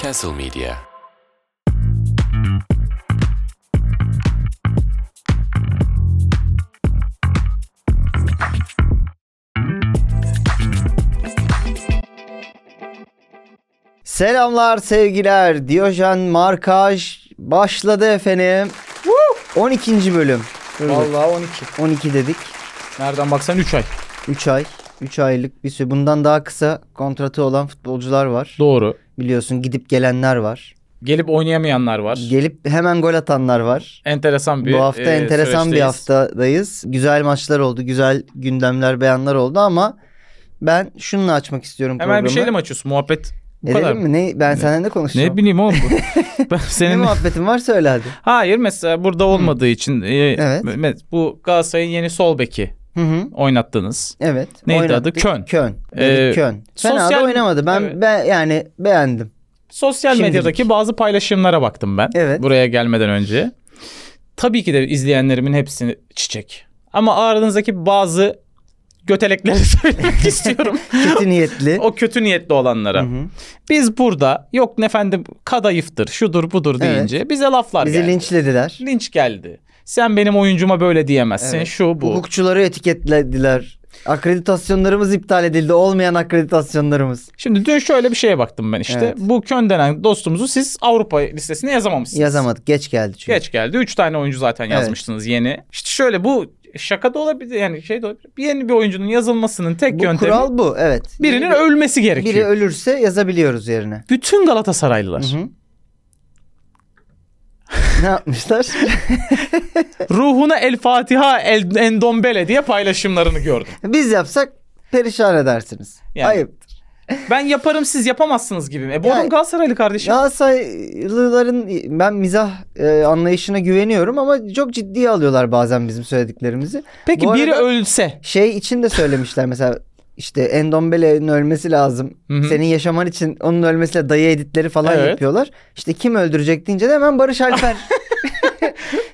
Castle Media. Selamlar sevgiler. Diyojen Markaj başladı efendim. 12. bölüm. Vallahi 12. 12 dedik. Nereden baksan 3 ay. 3 ay. 3 aylık bir süre. Bundan daha kısa kontratı olan futbolcular var. Doğru. Biliyorsun gidip gelenler var. Gelip oynayamayanlar var. Gelip hemen gol atanlar var. enteresan bir Bu hafta e, enteresan bir süreçteyiz. haftadayız. Güzel maçlar oldu. Güzel gündemler, beyanlar oldu ama ben şununla açmak istiyorum Hemen bir programı. şeyle mi açıyorsun muhabbet? Bu Edelim kadar mı? mi? Ne, ben seninle ne konuşacağım? Ne bileyim oğlum bu. ben Ne senin muhabbetin var söyle hadi. Hayır mesela burada olmadığı için e, Evet. me- bu Galatasaray'ın yeni sol beki Hı hı. oynattınız. Evet. Neydi adı? Kön. Kön. Ee, Dedik Kön. Fena sosyal- da oynamadı. Ben, Evet. ben yani beğendim. Sosyal Şimdilik. medyadaki bazı paylaşımlara baktım ben Evet. buraya gelmeden önce. Tabii ki de izleyenlerimin hepsini çiçek. Ama aranızdaki bazı götelekleri söylemek istiyorum. Kötü niyetli. o kötü niyetli olanlara. Hı hı. Biz burada yok ne efendim kadayıftır, şudur budur Evet. deyince bize laflar Bizi geldi. linçlediler. Linç geldi. Sen benim oyuncuma böyle diyemezsin. Evet. Şu bu. Hukukçuları etiketlediler. Akreditasyonlarımız iptal edildi. Olmayan akreditasyonlarımız. Şimdi dün şöyle bir şeye baktım ben işte. Evet. Bu Kön denen dostumuzu siz Avrupa listesine yazamamışsınız. Yazamadık. Geç geldi çünkü. Geç geldi. Üç tane oyuncu zaten Evet. yazmıştınız yeni. İşte şöyle bu şaka da olabilir yani şey de olabilir. Bir yeni bir oyuncunun yazılmasının tek Bu yöntemi kural bu. Evet. birinin Biri- ölmesi gerekiyor. Biri ölürse yazabiliyoruz yerine. Bütün Galatasaraylılar. Hı hı. ne yapmışlar? Ruhuna El Fatiha El Endombele diye paylaşımlarını gördüm. Biz yapsak perişan edersiniz. Yani- Ayıp. Ben yaparım siz yapamazsınız gibi. mi? E bu Ya- adam Galatasaraylı kardeşim. Galatasaraylıların ben mizah e, anlayışına güveniyorum ama çok ciddiye alıyorlar bazen bizim söylediklerimizi. Peki bu biri arada- ölse. Şey için de söylemişler mesela işte Endombele'nin ölmesi lazım. Hı hı. Senin yaşaman için onun ölmesiyle dayı editleri falan Evet. yapıyorlar. İşte kim öldürecek deyince de hemen Barış Alper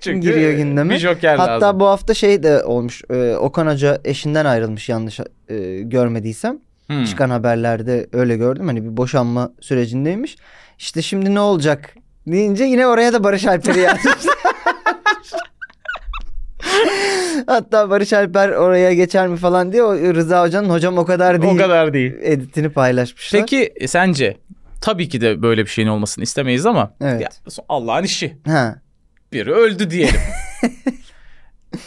Çünkü giriyor gündeme. Bir joker Hatta lazım. bu hafta şey de olmuş. e, Okan Hoca eşinden ayrılmış yanlış e, görmediysem. Hmm. Çıkan haberlerde öyle gördüm. Hani bir boşanma sürecindeymiş. İşte şimdi ne olacak deyince yine oraya da Barış Alper'i yazmışlar. Hatta Barış Alper oraya geçer mi falan diye o Rıza Hoca'nın hocam o kadar değil O kadar değil. editini paylaşmışlar. Peki e, sence tabii ki de böyle bir şeyin olmasını istemeyiz ama Evet. ya, so- Allah'ın işi. Ha. Biri öldü diyelim.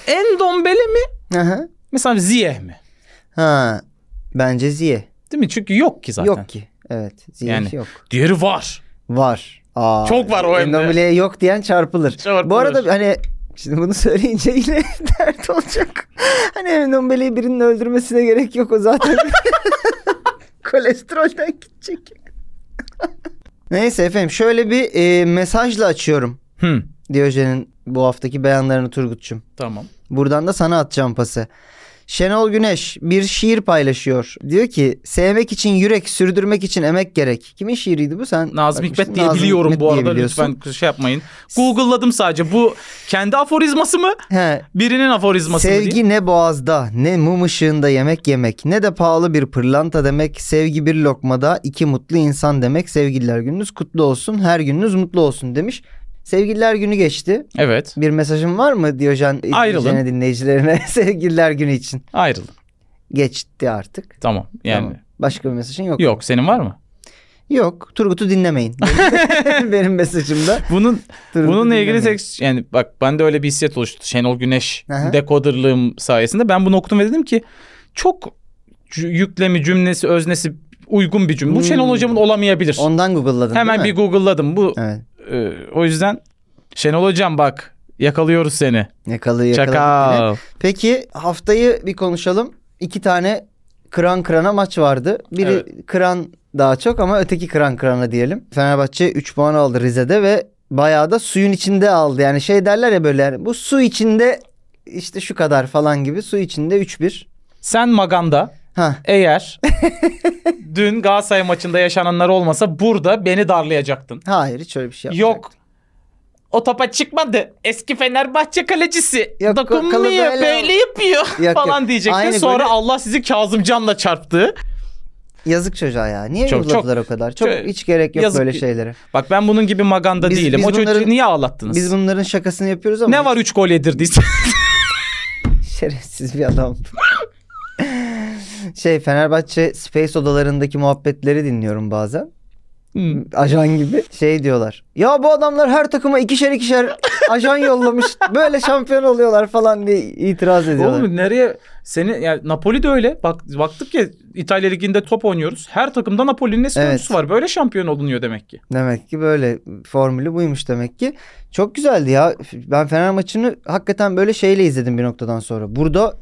Endombele mi? Hı hı. Mesela Ziyeh mi? Ha. Bence Ziye. Değil mi? Çünkü yok ki zaten. Yok ki. Evet. Ziye Yani. yok. Diğeri var. Var. Aa, Çok var o hem de. Endombele'ye yok diyen çarpılır. Çarpılır. Bu arada hani şimdi bunu söyleyince yine dert olacak. Hani Endombele'yi birinin öldürmesine gerek yok o zaten. Kolesterolden gidecek. Neyse efendim şöyle bir e, mesajla açıyorum. Hı. Diyojen'in bu haftaki beyanlarını Turgut'cum. Tamam. Buradan da sana atacağım pası. Şenol Güneş bir şiir paylaşıyor. Diyor ki sevmek için yürek, sürdürmek için emek gerek. Kimin şiiriydi bu? Sen Nazım bakmıştın. Hikmet diye Nazım biliyorum Hikmet bu diye arada. biliyorsun. Lütfen şey yapmayın. Google'ladım sadece. Bu kendi aforizması mı? He, Birinin aforizması mı? Sevgi diye. ne boğazda, ne mum ışığında yemek yemek, ne de pahalı bir pırlanta demek. Sevgi bir lokmada iki mutlu insan demek. Sevgililer gününüz kutlu olsun, her gününüz mutlu olsun demiş. Sevgililer günü geçti. Evet. Bir mesajın var mı Diyojen Ayrılın. izleyicilerine, dinleyicilerine sevgililer günü için? Ayrılın. Geçti artık. Tamam. Yani Tamam. Başka bir mesajın yok. yok. Senin var mı? Yok. Turgut'u dinlemeyin. Benim mesajımda. Bunun Turgut'u Bununla ilgili dinlemeyin. tek yani bak bende öyle bir hissiyat oluştu. Şenol Güneş Aha. dekoderlığım sayesinde ben bunu okudum ve dedim ki çok cü- yüklemi cümlesi öznesi uygun bir cümle. Bu Şenol Hmm. hocamın olamayabilir. Ondan Google'ladın Hemen değil bir mi? google'ladım bu. Evet. e, o yüzden Şenol hocam bak yakalıyoruz seni. Yakalı yakaladık yine. Çakal. Peki haftayı bir konuşalım. İki tane kıran kırana maç vardı. Biri Evet. kıran daha çok ama öteki kıran kırana diyelim. Fenerbahçe 3 puan aldı Rize'de ve bayağı da suyun içinde aldı. Yani şey derler ya böyle yani bu su içinde işte şu kadar falan gibi su içinde 3-1. Sen Maganda Ha eğer dün Galatasaray maçında yaşananlar olmasa burada beni darlayacaktın. hayır hiç öyle bir şey yapmayacaktı. Yok. O topa çıkmadı. Eski Fenerbahçe kalecisi. Yok, Dokunmuyor. kalı böyle- Böyle yapıyor Yok, falan yok. diyecektin. Aynı Sonra golü- Allah sizi Kazımcan'la çarptı. Yazık çocuğa ya. Niye Çok, yolladılar o kadar? Çok çok- hiç gerek yok yazık böyle ki- şeylere. Bak ben bunun gibi maganda Biz- değilim. biz o çocuğu bunların- niye ağlattınız? Biz bunların şakasını yapıyoruz ama Ne var 3 gol yedirdiyse? şerefsiz bir adam. şey Fenerbahçe Space odalarındaki muhabbetleri dinliyorum bazen. Hmm. Ajan gibi. Şey diyorlar. Ya bu adamlar her takıma ikişer ikişer ajan yollamış. Böyle şampiyon oluyorlar falan diye itiraz ediyorlar. Oğlum nereye seni yani Napoli de öyle. Bak baktık ya İtalya liginde top oynuyoruz. Her takımda Napoli'nin eski Evet. oyuncusu var. Böyle şampiyon olunuyor demek ki. Demek ki böyle formülü buymuş demek ki. Çok güzeldi ya. Ben Fener maçını hakikaten böyle şeyle izledim bir noktadan sonra. Burada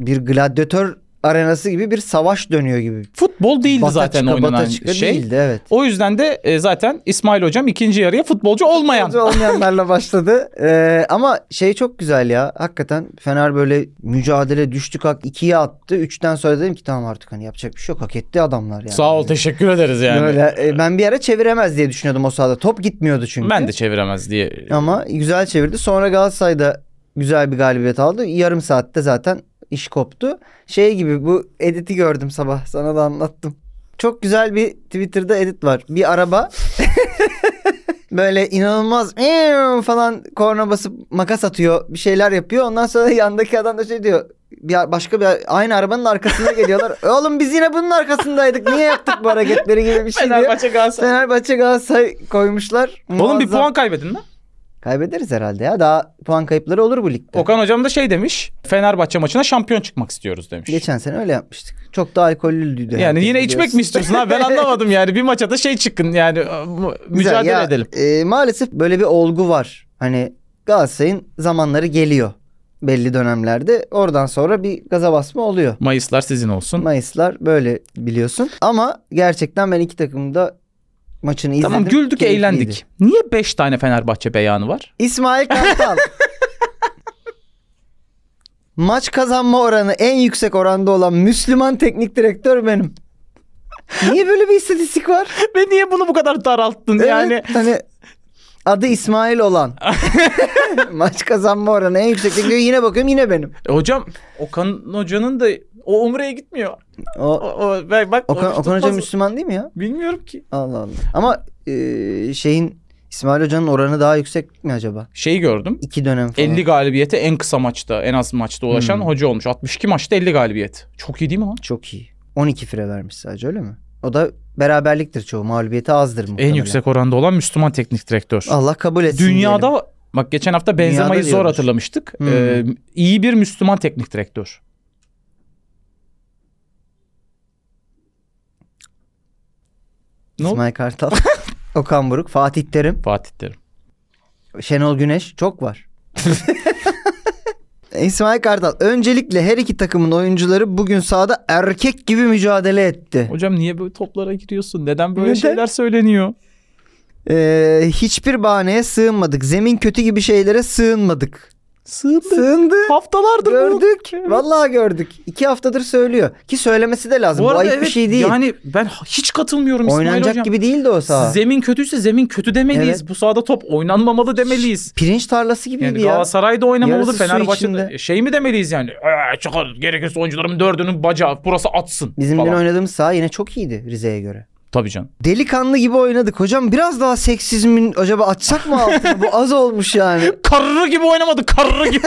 bir gladyatör arenası gibi bir savaş dönüyor gibi. Futbol değildi Bata zaten çıka, oynanan bata çıka şey. Değildi, evet. O yüzden de e, zaten İsmail hocam ikinci yarıya futbolcu olmayan. Futbolcu olmayanlarla başladı. Ee, ama şey çok güzel ya. Hakikaten Fener böyle mücadele düştü kalk ikiye attı. Üçten sonra dedim ki tamam artık hani yapacak bir şey yok. Hak etti adamlar yani. Sağ ol teşekkür ederiz yani. Böyle, e, ben bir ara çeviremez diye düşünüyordum o sahada. Top gitmiyordu çünkü. Ben de çeviremez diye. Ama güzel çevirdi. Sonra Galatasaray'da güzel bir galibiyet aldı. Yarım saatte zaten iş koptu. Şey gibi bu editi gördüm sabah. Sana da anlattım. Çok güzel bir Twitter'da edit var. Bir araba böyle inanılmaz "Eeeem" falan korna basıp makas atıyor. Bir şeyler yapıyor. Ondan sonra yandaki adam da şey diyor. Bir, başka bir aynı arabanın arkasına geliyorlar. Oğlum biz yine bunun arkasındaydık. Niye yaptık bu hareketleri gibi bir şey diyor. Fenerbahçe Galatasaray. Fenerbahçe Galatasaray koymuşlar. Oğlum bir Muazzam. puan kaybedin mi? Kaybederiz herhalde ya. Daha puan kayıpları olur bu ligde. Okan hocam da şey demiş. Fenerbahçe maçına şampiyon çıkmak istiyoruz demiş. Geçen sene öyle yapmıştık. Çok da alkollüydü. yani yine içmek mi istiyorsun abi? Ben anlamadım yani. Bir maça da şey çıkın yani mu- mücadele edelim. e, maalesef böyle bir olgu var. Hani Galatasaray'ın zamanları geliyor belli dönemlerde. Oradan sonra bir gaza basma oluyor. Mayıslar sizin olsun. Mayıslar böyle biliyorsun. Ama gerçekten ben iki takımda maçını izledim. Tamam güldük Keyifliydi. eğlendik. Niye 5 tane Fenerbahçe beyanı var? İsmail Kartal. Maç kazanma oranı en yüksek oranda olan Müslüman teknik direktör benim. Niye böyle bir istatistik var? Ve niye bunu bu kadar daralttın yani? Evet, hani adı İsmail olan. Maç kazanma oranı en yüksek teknik direktör. yine bakıyorum yine benim. E, Hocam Okan hocanın da o umreye gitmiyor. O, O o- ben bak Okan, o- Okan Hoca tutmaz. Müslüman değil mi ya? Bilmiyorum ki. Allah Allah. Ama e, şeyin İsmail Hoca'nın oranı daha yüksek mi acaba? Şeyi Şey gördüm. İki dönem falan. 50 galibiyete en kısa maçta, en az maçta ulaşan Hmm. hoca olmuş. 62 maçta 50 galibiyet. Çok iyi değil mi lan? Çok iyi. 12 fire vermiş sadece öyle mi? O da beraberliktir çoğu. Mağlubiyeti azdır muhtemelen. En yüksek oranda olan Müslüman teknik direktör. Allah kabul etsin. Dünyada diyelim. bak geçen hafta Dünyada Benzema'yı zor diyormuş. hatırlamıştık. Hmm. Ee, iyi bir Müslüman teknik direktör. Ne oldu? İsmail Kartal, Okan Buruk, Fatih Terim, Fatih Terim. Şenol Güneş çok var. İsmail Kartal öncelikle her iki takımın oyuncuları bugün sahada erkek gibi mücadele etti. Hocam niye böyle toplara giriyorsun? Neden böyle Neden? şeyler söyleniyor? Ee, hiçbir bahaneye sığınmadık. Zemin kötü gibi şeylere sığınmadık. Sığındı. Sığındı. Haftalardır bu. Gördük. Evet. Vallahi gördük. İki haftadır söylüyor. Ki söylemesi de lazım. Bu, ayıp bir şey değil. Yani ben hiç katılmıyorum İsmail Oynanacak hocam. gibi değildi o saha. Zemin kötüyse zemin kötü demeliyiz. Bu sahada top oynanmamalı demeliyiz. Pirinç tarlası gibiydi Yani ya. Galatasaray'da oynamalı, Yarısı su Fenerbahçe'de içinde. şey mi demeliyiz yani? "Ee, çıkar gerekirse oyuncuların dördünün bacağı burası atsın Bizim falan. dün oynadığımız saha yine çok iyiydi Rize'ye göre. Tabii canım. Delikanlı gibi oynadık. Hocam biraz daha seksizmin acaba açsak mı altını? Bu az olmuş yani. Karrı gibi oynamadı karrı gibi.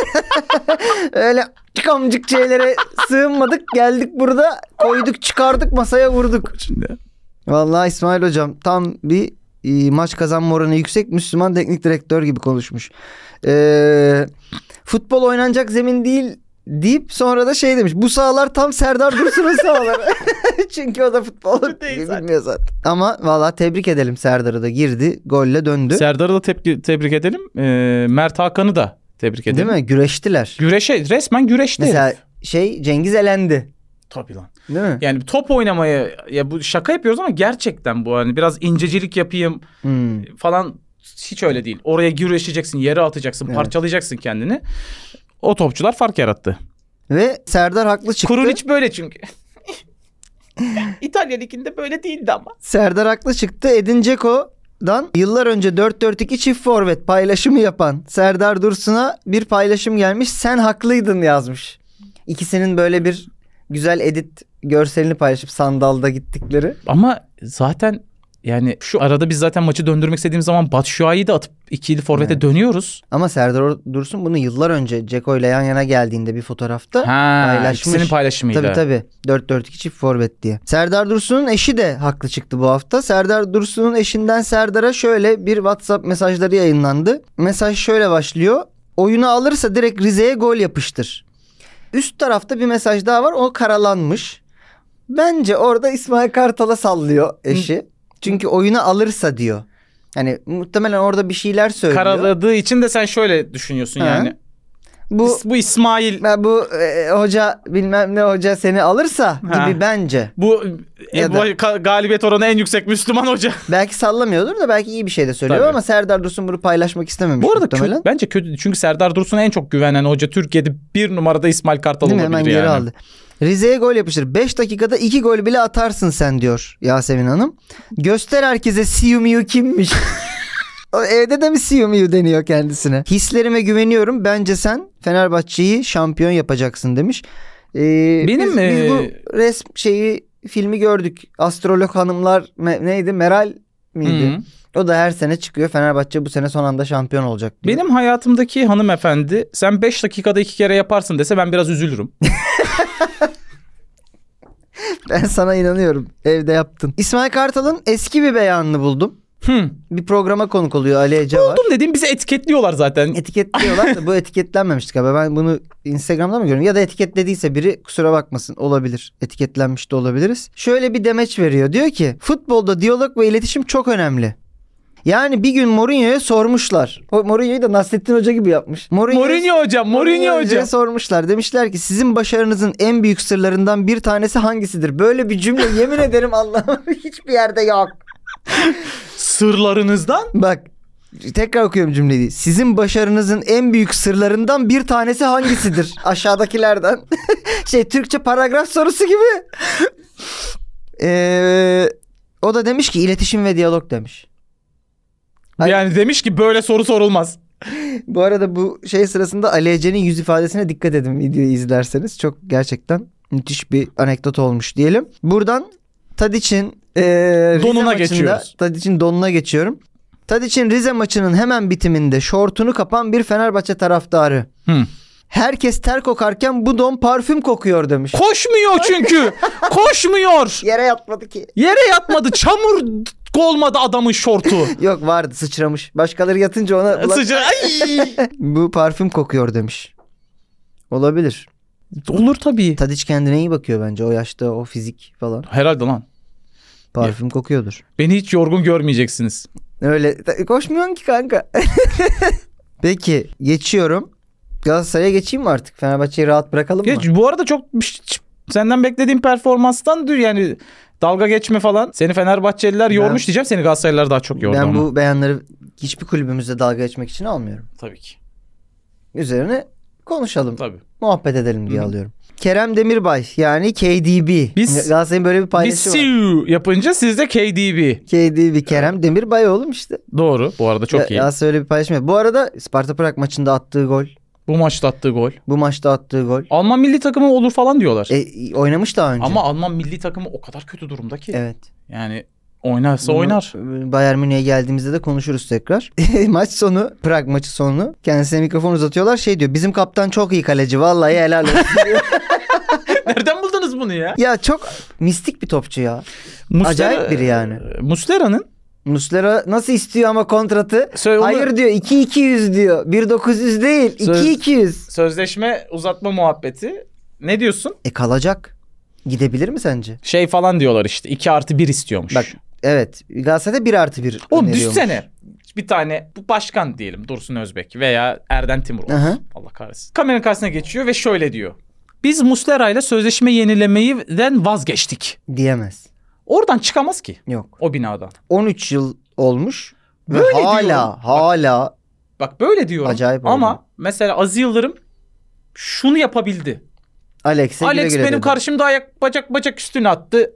Öyle çıkamcık şeylere sığınmadık. Geldik burada koyduk çıkardık masaya vurduk. Şimdi. Vallahi İsmail hocam tam bir e, maç kazanma oranı yüksek Müslüman teknik direktör gibi konuşmuş. Ee, futbol oynanacak zemin değil deyip sonra da şey demiş. Bu sahalar tam Serdar Dursun'un sahaları. Çünkü o da futbol değil bilmiyor zaten. Ama vallahi tebrik edelim Serdar'ı da girdi. Golle döndü. Serdar'ı da tepki, tebrik edelim. Ee, Mert Hakan'ı da tebrik edelim. Değil mi? Güreştiler. Güreşe resmen güreşti. Mesela herif. şey Cengiz elendi. Tabii lan. Değil mi? Yani top oynamaya ya bu şaka yapıyoruz ama gerçekten bu hani biraz incecilik yapayım Hmm. falan hiç öyle değil. Oraya güreşeceksin, yere atacaksın, Evet. parçalayacaksın kendini. O topçular fark yarattı. Ve Serdar haklı çıktı. Kurunic böyle çünkü. İtalya liginde böyle değildi ama. Serdar haklı çıktı. Edin Dzeko'dan yıllar önce 4-4-2 çift forvet paylaşımı yapan Serdar Dursun'a bir paylaşım gelmiş. Sen haklıydın yazmış. İkisinin böyle bir güzel edit görselini paylaşıp sandalda gittikleri. Ama zaten yani şu arada biz zaten maçı döndürmek istediğimiz zaman Batshuayi'yi de atıp ikili forvete Evet. dönüyoruz. Ama Serdar Or- Dursun bunu yıllar önce Ceko ile yan yana geldiğinde bir fotoğrafta Ha, Paylaşmış. ikisinin paylaşımıyla. Tabii tabii. 4-4-2 çift forvet diye. Serdar Dursun'un eşi de haklı çıktı bu hafta. Serdar Dursun'un eşinden Serdar'a şöyle bir WhatsApp mesajları yayınlandı. Mesaj şöyle başlıyor. Oyunu alırsa direkt Rize'ye gol yapıştır. Üst tarafta bir mesaj daha var. O karalanmış. Bence orada İsmail Kartal'a sallıyor eşi. Çünkü oyunu alırsa diyor. Yani muhtemelen orada bir şeyler söylüyor. Karaladığı için de sen şöyle düşünüyorsun Ha. yani. Bu Bu, bu İsmail bu e, hoca bilmem ne hoca seni alırsa Ha. gibi bence. bu, Ya e, bu da- ka- galibiyet oranı en yüksek Müslüman hoca. Belki sallamıyordur da belki iyi bir şey de söylüyor Tabii. ama Serdar Dursun bunu paylaşmak istememiş. Bu arada muhtemelen. kötü, bence kötü çünkü Serdar Dursun'a en çok güvenen hoca Türkiye'de bir numarada İsmail Kartal Değil mi? olabilir Hemen yani. geri aldı. Rize'ye gol yapışır. 5 dakikada 2 gol bile atarsın sen diyor Yasemin Hanım. Göster herkese Siu Miu kimmiş. O Evde de mi Siu Miu deniyor kendisine. Hislerime güveniyorum. Bence sen Fenerbahçe'yi şampiyon yapacaksın demiş. Ee, Benim, biz, biz eee, bu resm şeyi filmi gördük. Astrolog hanımlar me- neydi? Meral miydi? Hı. O da her sene çıkıyor. Fenerbahçe bu sene son anda şampiyon olacak diyor. Benim hayatımdaki hanımefendi sen 5 dakikada iki kere yaparsın dese ben biraz üzülürüm. Ben sana inanıyorum. Evde yaptın. İsmail Kartal'ın eski bir beyanını buldum. Hı. Bir programa konuk oluyor Ali Ece var. Buldum dediğim bizi etiketliyorlar zaten. Etiketliyorlar da bu etiketlenmemişti galiba. Ben bunu Instagram'da mı görüyorum? Ya da etiketlediyse biri kusura bakmasın. Olabilir. Etiketlenmiş de olabiliriz. Şöyle bir demeç veriyor. Diyor ki futbolda diyalog ve iletişim çok önemli. Yani bir gün Mourinho'ya sormuşlar. O Mourinho'yu da Nasrettin Hoca gibi yapmış. Mourinho'ya Mourinho hocam, Mourinho Hoca'ya hocam. sormuşlar. Demişler ki sizin başarınızın en büyük sırlarından bir tanesi hangisidir? Böyle bir cümle yemin ederim Allah'ım hiçbir yerde yok. Sırlarınızdan Bak tekrar okuyorum cümleyi. Sizin başarınızın en büyük sırlarından bir tanesi hangisidir? Aşağıdakilerden. şey Türkçe paragraf sorusu gibi. Ee, o da demiş ki iletişim ve diyalog demiş. Hayır. yani demiş ki böyle soru sorulmaz. Bu arada bu şey sırasında Ali Ece'nin yüz ifadesine dikkat edin videoyu izlerseniz. Çok gerçekten müthiş bir anekdot olmuş diyelim. Buradan Tadiç'in eee, Rize Donuna maçında- geçiyoruz. Tadiç'in donuna geçiyorum. Tadiç'in Rize maçının hemen bitiminde şortunu kapan bir Fenerbahçe taraftarı. Hı. Herkes ter kokarken bu don parfüm kokuyor demiş. Koşmuyor çünkü. Koşmuyor. Yere yatmadı ki. Yere yatmadı. Çamur olmadı adamın şortu. Yok vardı sıçramış. Başkaları yatınca ona "Ulan Sıcak. Ay. bu parfüm kokuyor demiş. Olabilir. Olur tabii. Tadiç kendine iyi bakıyor bence. O yaşta o fizik falan. Herhalde lan. Parfüm kokuyordur. Beni hiç yorgun görmeyeceksiniz. Öyle ta- koşmuyorsun ki kanka. Peki geçiyorum. Galatasaray'a geçeyim mi artık? Fenerbahçe'yi rahat bırakalım mı? Geç, bu arada çok senden beklediğim performanstan dur yani dalga geçme falan. Seni Fenerbahçeliler yormuş diyeceğim. Seni Galatasaraylılar daha çok yordu ben ama. bu beyanları hiçbir kulübümüzde dalga geçmek için almıyorum. Tabii ki. Üzerine konuşalım, Tabii. muhabbet edelim diye Hı hı. alıyorum. Kerem Demirbay yani KDB. Biz- Galatasaray'ın böyle bir Biz paylaşımı var. Siu yapınca sizde KDB. KDB Kerem Demirbay oğlum işte. Doğru. Bu arada çok Ga- iyi. Galatasaray öyle bir paylaşım. yapıyor. Bu arada Sparta Prag maçında attığı gol, Bu maçta attığı gol. bu maçta attığı gol. Alman milli takımı olur falan diyorlar. E, oynamış daha önce. Ama Alman milli takımı o kadar kötü durumda ki. evet. Yani oynarsa Bunu, oynar. e, Bayern Münih'e geldiğimizde de konuşuruz tekrar. Maç sonu, Prag maçı sonu. Kendisine mikrofon uzatıyorlar. Şey diyor, bizim kaptan çok iyi kaleci. Vallahi helal olsun. Nereden buldunuz bunu ya? ya çok mistik bir topçu ya. Muslera, Acayip biri yani. Muslera'nın Muslera nasıl istiyor ama kontratı? söyle onu- Hayır diyor 2200 diyor. 1900 değil Söz- 2200. sözleşme uzatma muhabbeti ne diyorsun? E kalacak. Gidebilir mi sence? Şey falan diyorlar işte 2 artı 1 istiyormuş. Bak, Evet. Galatasaray'da 1 artı 1 Oğlum düşsene bir tane bu başkan diyelim Dursun Özbek veya Erden Timur. olsun. Aha. Allah kahretsin. Kameranın karşısına geçiyor ve şöyle diyor. Biz Muslera ile sözleşme yenilemeyden vazgeçtik. Diyemez. Oradan çıkamaz ki Yok. o binadan. 13 yıl olmuş. Ve Böyle hala diyorum. Bak- hala Bak böyle diyorum. Acayip Ama oldu. mesela Aziz Yıldırım şunu yapabildi. Alex'e güle Alex güle benim dedi. karşımda ayak bacak bacak üstüne attı.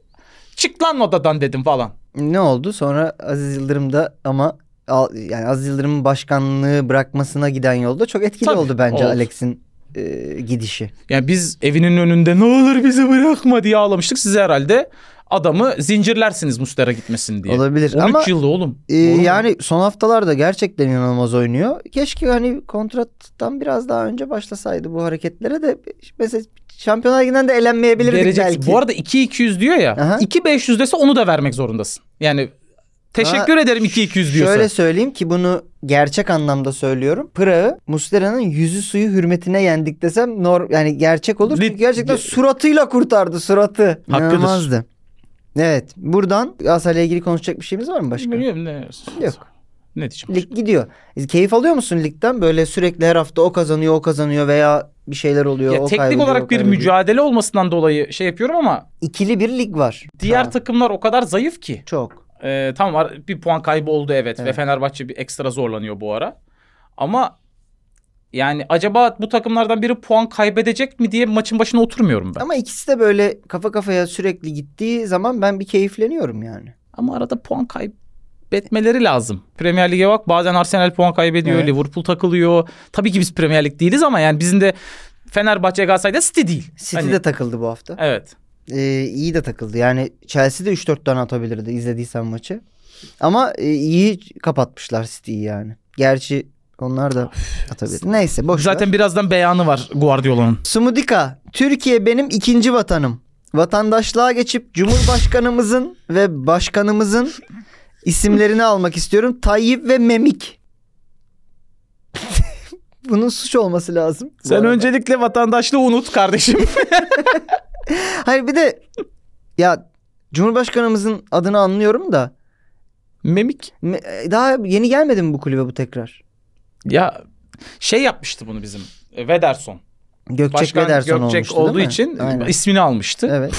Çık lan odadan dedim falan. Ne oldu? Sonra Aziz Yıldırım da ama al- yani Aziz Yıldırım'ın başkanlığı bırakmasına giden yolda çok etkili Tabii, oldu bence oldu. Alex'in e, gidişi. Yani biz evinin önünde ne olur bizi bırakma diye ağlamıştık. Siz herhalde adamı zincirlersiniz Muslera gitmesin diye. Olabilir 13 ama yılda oğlum. e, Doğru mu? yani son haftalarda gerçekten inanılmaz oynuyor. Keşke hani kontrattan biraz daha önce başlasaydı bu hareketlere de mesela Şampiyonlar Ligi'nden de elenmeyebilirdik Vereceksin. belki. Bu arada 2-200 diyor Aha. ya. 2-500 dese onu da vermek zorundasın. Yani teşekkür ederim 2-200 diyorsa. Şöyle söyleyeyim ki bunu gerçek anlamda söylüyorum. Pıra'ı Muslera'nın yüzü suyu hürmetine yendik desem nor yani gerçek olur. Lit- Çünkü gerçekten suratıyla kurtardı suratı. Hakkıdır. İnanılmazdı. Evet. Buradan Galatasaray'la ilgili konuşacak bir şeyimiz var mı başka? Bilmiyorum ne. Yok. Ne diyeceğim? Lig gidiyor. Keyif alıyor musun ligden? Böyle sürekli her hafta o kazanıyor, o kazanıyor veya bir şeyler oluyor, şey. Ya o teknik kaybediyor, o olarak bir kaybediyor. mücadele olmasından dolayı şey yapıyorum ama İkili bir lig var. diğer Ha, takımlar o kadar zayıf ki. çok. Ee, tamam ar- bir puan kaybı oldu evet, ve Evet. Fenerbahçe bir ekstra zorlanıyor bu ara. Ama yani acaba bu takımlardan biri puan kaybedecek mi diye maçın başına oturmuyorum ben. Ama, Ama ikisi de böyle kafa kafaya sürekli gittiği zaman ben bir keyifleniyorum yani. arada puan kaybetmeleri lazım. Premier Lig'e bak bazen Arsenal puan kaybediyor, Evet. Liverpool takılıyor. Tabii ki biz Premier Lig değiliz ama yani bizim de Fenerbahçe Galatasaray'da City değil. City Hani- de takıldı bu hafta. Evet. e, iyi de takıldı. Yani Chelsea de 3-4 tane atabilirdi izlediysen maçı. Ama e, iyi kapatmışlar City'yi yani. Gerçi onlar da atabilir. Neyse boş Zaten Zaten birazdan beyanı var Guardiola'nın. Sumudika, Türkiye benim ikinci vatanım. Vatandaşlığa geçip Cumhurbaşkanımızın ve başkanımızın isimlerini almak istiyorum. Tayyip ve Memik. Bunun suç olması lazım. bu Sen arada. öncelikle vatandaşlığı unut kardeşim. Hayır bir de ya Cumhurbaşkanımızın adını anlıyorum da Memik Me- e, Daha yeni gelmedi mi bu kulübe bu tekrar? ya şey yapmıştı bunu bizim. e, Vederson. Gökçek Başkan Vederson Gökçek olmuştu, olduğu değil mi? için e, Aynen. ismini almıştı. Evet.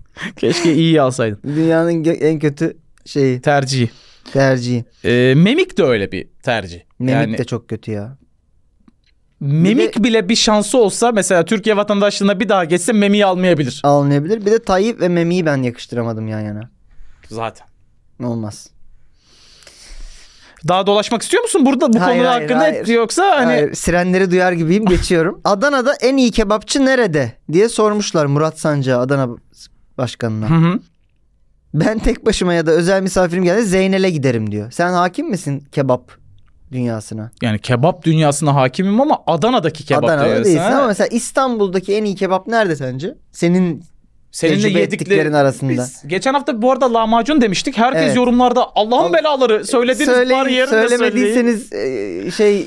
Keşke iyi alsaydın. dünyanın gö- en kötü şeyi Tercihi. tercihi. Ee, Memik de öyle bir tercih. Memik yani de çok kötü ya. Memik bile bir şansı olsa mesela Türkiye vatandaşlığına bir daha geçse Memik'i almayabilir. Alınabilir. Bir de Tayyip ve Memik'i ben yakıştıramadım yan yana. Zaten. Olmaz. Daha dolaşmak istiyor musun burada bu Hayır, konu hayır, hakkında hayır. yoksa hani Hayır, sirenleri duyar gibiyim geçiyorum. Adana'da en iyi kebapçı nerede diye sormuşlar Murat Sancak'a Adana başkanına. Hı hı. ben tek başıma ya da özel misafirim geldi Zeynel'e giderim diyor. Sen hakim misin kebap dünyasına? yani kebap dünyasına hakimim ama Adana'daki kebap Adana'da diyorsun, değilsin ha? ama mesela İstanbul'daki en iyi kebap nerede sence? Senin Seninle tecrübe yedikleri- ettiklerin arasında. Biz geçen hafta bu arada lahmacun demiştik. Herkes Evet. yorumlarda Allah'ın Al- belaları söylediniz söyleyin, var yerinde söyleyin. söylemediyseniz e, şey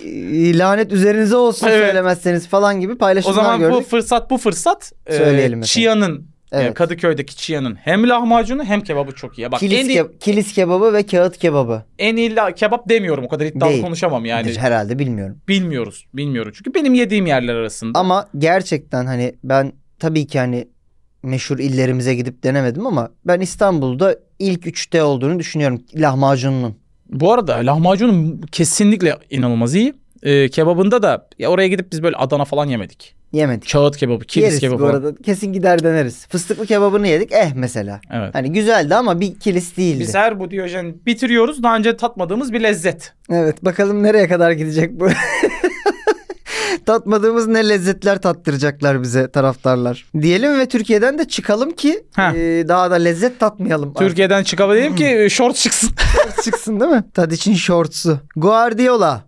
e, lanet üzerinize olsun Evet. söylemezseniz falan gibi O paylaşımlar zaman bu gördük. fırsat bu fırsat. Ee, Söyleyelim efendim. Çiğa'nın Evet. yani Kadıköy'deki Çiğa'nın hem lahmacunu hem kebabı çok iyi. Bak kilis, en, iyi, ke- kilis kebabı ve kağıt kebabı. en iyi la- kebap demiyorum. O kadar iddialı Değil. konuşamam yani. Herhalde bilmiyorum. Bilmiyoruz. Bilmiyoruz. Çünkü benim yediğim yerler arasında. Ama gerçekten hani ben tabii ki hani meşhur illerimize gidip denemedim ama ben İstanbul'da ilk üçte olduğunu düşünüyorum lahmacunun. Bu arada lahmacunun kesinlikle inanılmaz iyi. Ee, kebabında da ya oraya gidip biz böyle Adana falan yemedik. Yemedik. Kağıt kebabı, kilis Yeriz kebabı. bu falan. arada. Kesin gider deneriz. Fıstıklı kebabını yedik. Eh mesela. Evet. Hani güzeldi ama bir kilis değildi. Biz her bu diyojen bitiriyoruz. Daha önce tatmadığımız bir lezzet. Evet bakalım nereye kadar gidecek bu. Tatmadığımız ne lezzetler tattıracaklar bize taraftarlar. Diyelim ve Türkiye'den de çıkalım ki Ha. e, daha da lezzet tatmayalım. Türkiye'den çıkabileyim ki e, short çıksın. Artık çıksın değil mi? Tadiç'in şortsu. Guardiola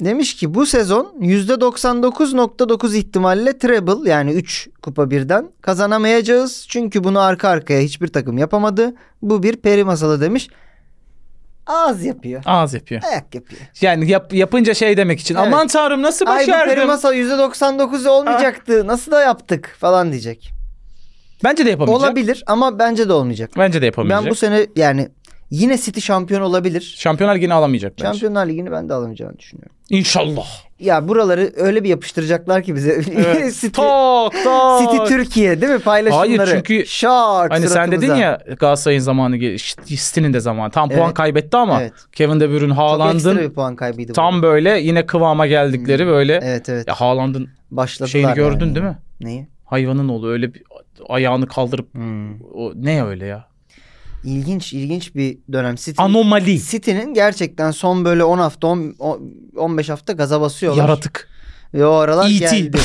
demiş ki bu sezon %99.9 ihtimalle treble yani 3 kupa birden kazanamayacağız. Çünkü bunu arka arkaya hiçbir takım yapamadı. Bu bir peri masalı demiş. Ağız yapıyor. Ağız yapıyor. Ayak yapıyor. Yani yap- yapınca şey demek için. Evet. Aman tanrım nasıl Ay bu peri başardım. masal %99 olmayacaktı. Nasıl da yaptık falan diyecek. Bence de yapamayacak. Olabilir ama bence de olmayacak. Bence de yapamayacak. Ben bu sene yani yine City şampiyon olabilir. Şampiyonlar yine alamayacak bence. Şampiyonlar Ligi'ni ben de alamayacağını düşünüyorum. İnşallah. Ya buraları öyle bir yapıştıracaklar ki bize. City, Tok tok. City Türkiye değil mi paylaşımları? Hayır, çünkü- Şart Hani sen suratımıza. dedin ya Galatasaray'ın zamanı ge- City'nin de zamanı. Tam puan Evet. kaybetti ama Evet. Kevin De Bruyne Çok ekstra Haaland'ın bir puan kaybıydı. bu. tam böyle yine kıvama geldikleri böyle. Evet evet. Ya Haaland'ın Başladılar. şeyini gördün yani. değil mi? Neyi? Hayvanın oğlu öyle bir ayağını kaldırıp Hmm. o ne öyle ya? İlginç ilginç bir dönem. City, Anomali. City'nin gerçekten son böyle 10 hafta on- on- 15 hafta gaza basıyorlar. Yaratık. E Ve o aralar E.T. geldi.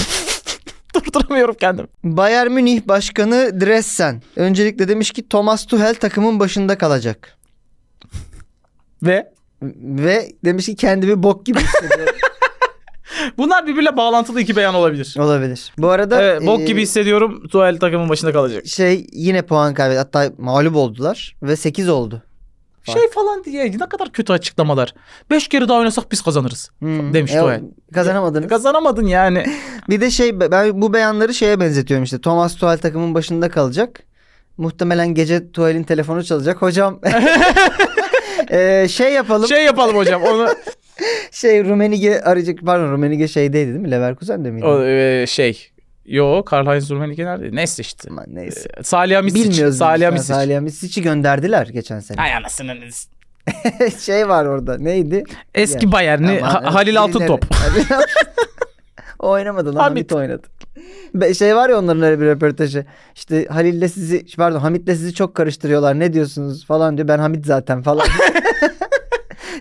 Durduramıyorum kendimi. Bayern Münih Başkanı Dressen öncelikle demiş ki Thomas Tuchel takımın başında kalacak. Ve Ve demiş ki kendimi bok gibi hissediyorum. bunlar birbirle bağlantılı iki beyan olabilir. Olabilir. Bu arada Evet, bok e, gibi hissediyorum. Tuval takımın başında kalacak. şey yine puan kaybetti. Hatta mağlup oldular ve 8 oldu. Fark. Şey falan diye ne kadar kötü açıklamalar. Beş kere daha oynasak biz kazanırız. Hmm. Demiş E, Tuchel. Kazanamadınız. Kazanamadın yani. Bir de şey ben bu beyanları şeye benzetiyorum işte. Thomas Tuchel takımın başında kalacak. Muhtemelen gece Tuchel'in telefonu çalacak. Hocam e, şey yapalım. Şey, şey yapalım hocam. Onu Rumenige arayacak. Pardon Rumenige şeydeydi değil mi? Leverkusen'de miydi? o, e, şey. Yo, Karl-Heinz Rummenigge nerede? Neyse işte. Aman neyse. E, Salih Misic. Bilmiyoruz. Salih biz. Ha, Misic. Salih Misic'i gönderdiler geçen sene. Hay anasınız. şey var orada. Neydi? Eski Ya, Bayern'i Aman, Ha- evet, Halil birileri- Altıntop. Halil Altıntop. o oynamadı lan. Hamit. Hamit, oynadı. Be- şey var ya onların öyle bir röportajı. İşte Halil'le sizi pardon Hamit'le sizi çok karıştırıyorlar. Ne diyorsunuz falan diyor. Ben Hamit zaten falan.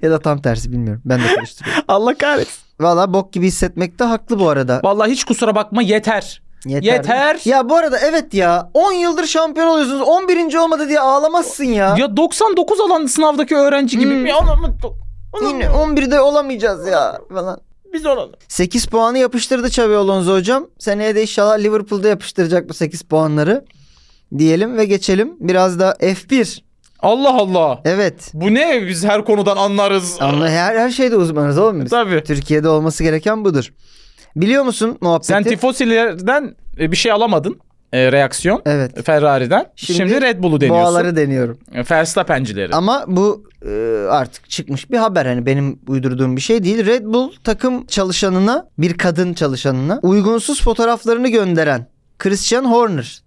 ya da tam tersi bilmiyorum. Ben de karıştırıyorum. Allah kahretsin. Valla bok gibi hissetmekte haklı bu arada. Vallahi hiç kusura bakma yeter. Yeter. Ya bu arada evet ya 10 yıldır şampiyon oluyorsunuz. 11. olmadı diye ağlamazsın ya. Ya 99 alan sınavdaki öğrenci gibi. Hmm. Ya onu- onu- Yine 11'de olamayacağız ya falan. biz olalım. 8 puanı yapıştırdı Xabi Alonso hocam. Seneye de inşallah Liverpool'da yapıştıracak bu 8 puanları. Diyelim ve geçelim. Biraz da F1. Allah Allah. Evet. Bu ne? Biz her konudan anlarız. Anla her, her şeyde uzmanız oğlum biz. Tabii. Türkiye'de olması gereken budur. Biliyor musun muhabbeti? Sen Tifosilerden e, bir şey alamadın. E, reaksiyon. Evet. Ferrari'den. Şimdi, Şimdi Red Bull'u deniyorsun. Boğaları deniyorum. E, Verstappen'cileri. Ama bu e, artık çıkmış bir haber. Hani benim uydurduğum bir şey değil. Red Bull takım çalışanına, bir kadın çalışanına uygunsuz fotoğraflarını gönderen Christian Horner.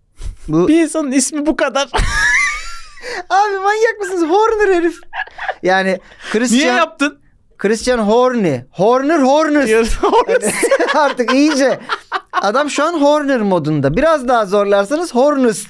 Bu Bir insanın ismi bu kadar. Abi manyak mısınız? Horner herif. Yani Christian, Niye yaptın? Christian Horny. Horner Horner. Artık iyice. Adam şu an Horner modunda. Biraz daha zorlarsanız Hornest